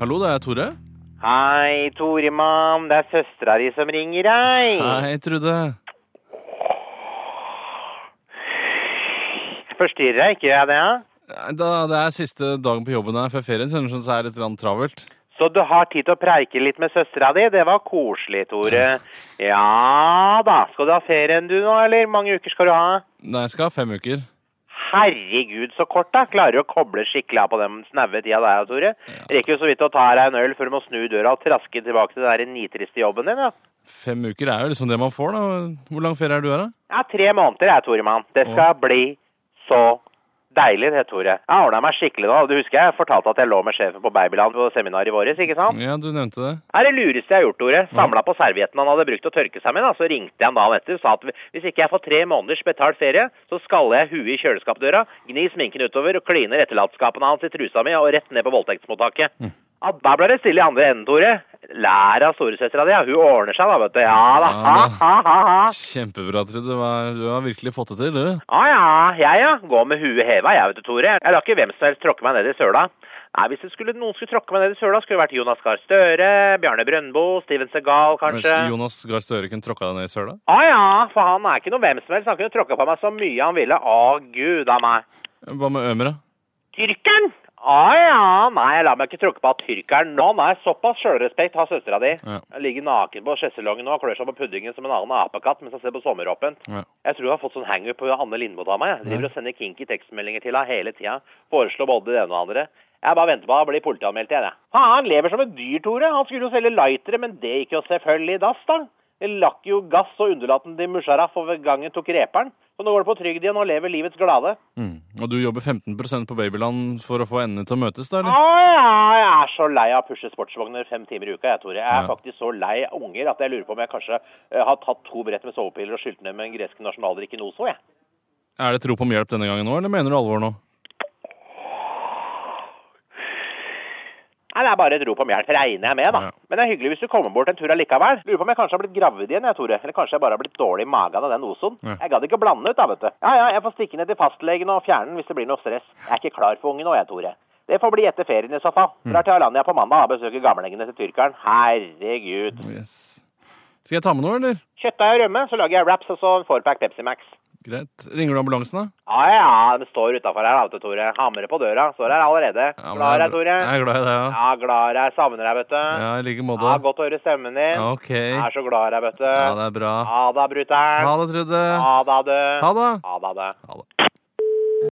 Hallo, det er Tore. Hei, Toremann. Det er søstera di som ringer deg. Hei, Trude. Forstyrrer jeg ikke jeg det? ja? Da det er siste dagen på jobben her før ferien, så skjønner jeg så er det litt grann travelt. Så du har tid til å preike litt med søstera di? Det var koselig, Tore. Ja da. Skal du ha ferien du nå, eller? Mange uker skal du ha? Nei, jeg skal ha fem uker. Herregud, så kort, da. Klarer du å koble skikkelig av på den snaue tida der, Tore? Rekker jo så vidt å ta deg en øl før du må snu døra og traske tilbake til den der nitriste jobben din, ja. Fem uker er jo liksom det man får, da. Hvor lang ferie er du her, da? Ja, tre måneder jeg, Toremann. Det skal bli så deilig, det, Tore. Jeg ordna meg skikkelig nå. Du husker jeg fortalte at jeg lå med sjefen på Babyland på seminar i våres, ikke sant? Ja, du nevnte det. Det er det lureste jeg har gjort, Tore. Samla på servietten han hadde brukt å tørke seg med, da. Så ringte jeg han dagen etter og sa at hvis ikke jeg får tre måneders betalt ferie, så skaller jeg huet i kjøleskapdøra, gnir sminken utover og kliner etterlatenskapene hans i trusa mi og rett ned på voldtektsmottaket. Ja, da ble det stille i andre enden, Tore. Lær av storesøstera di, ja. Hun ordner seg da, vet du. Ja da. Ha, ha, ha, ha. Kjempebra, Trude. Du har- Du har virkelig fått det til, du. Ah, ja, jeg ja. Går med huet heva, jeg vet du, Tore. Jeg lar ikke hvem som helst tråkke meg ned i søla. Nei, hvis det skulle, noen skulle tråkke meg ned i søla, skulle det vært Jonas Gahr Støre, Bjarne Brøndbo, Steven Segal, Mens kanskje. Jonas Gahr Støre kunne tråkka deg ned i søla? ah, ja, for han er ikke noe hvem som helst. Han kunne tråkka på meg så mye han ville. Å, gud a meg. Hva med Ømer, da? Tyrkeren! ah, ja, nei, jeg lar meg ikke tråkke på av tyrkeren nå. Nei, såpass sjølrespekt har søstera di. Ja. Jeg ligger naken på sjeselongen nå og klør seg på puddingen som en annen apekatt mens han ser på sommeråpent. Ja. Jeg tror jeg har fått sånn hangup på Anne Lindmo av meg. Jeg driver og sender kinky tekstmeldinger til henne hele tida. Foreslår både det ene og det andre. Jeg bare venter på å bli politianmeldt igjen, jeg. Han lever som et dyr, Tore. Han skulle jo selge lightere, men det gikk jo selvfølgelig dass, da. Det lakk jo gass og underlaten til Musharraf, og ved gangen tok reperen. Så nå går det på trygd igjen og lever livets glade. Mm. Og du jobber 15 på Babyland for å få endene til å møtes, da? Å eller? ja, jeg er så lei av å pushe sportsvogner fem timer i uka, jeg, Tore. Jeg er Ja. faktisk så lei av unger at jeg lurer på om jeg kanskje eh, har tatt to brett med sovepiller og skylt ned med en gresk nasjonaldrikk i Noso, jeg. Er det rop om hjelp denne gangen nå, eller mener du alvor nå? Nei, det er bare et rop om hjelp, regner jeg med, da. Ja. Men det er hyggelig hvis du kommer bort en tur allikevel. Lurer på om jeg kanskje har blitt gravid igjen, jeg, Tore. Eller kanskje jeg bare har blitt dårlig i magen av den ozoen. Ja. Jeg gadd ikke å blande ut, da, vet du. Ja, ja, jeg får stikke ned til fastlegen og fjerne den hvis det blir noe stress. Jeg er ikke klar for ungen nå, jeg, Tore. Det får bli etter ferien i så fall. Mm. Drar til Alanya på mandag og besøker gamlingene til tyrkeren. Herregud. Yes. Skal jeg ta med noe, eller? Kjøttdeig og rømme, så lager jeg wraps og så en fourpack Pepsi Max. Greit. Ringer du ambulansen, da? Ja, ja, den står utafor her, da, vet du, Tore. Hamrer på døra. Står her allerede. Ja, men Glad i jeg er deg, Tore. bra- Jeg er glad i deg, ja. Ja, glad i deg. Savner deg, vet du. Ja, I like Ja, måte. godt å høre stemmen din. Ja, OK. Jeg er så glad i deg, vet du. Ja, det er bra. Ha det, brutter'n. Ha det, Trude. Ha det, du. Ha det. Ha det, du. Ha det.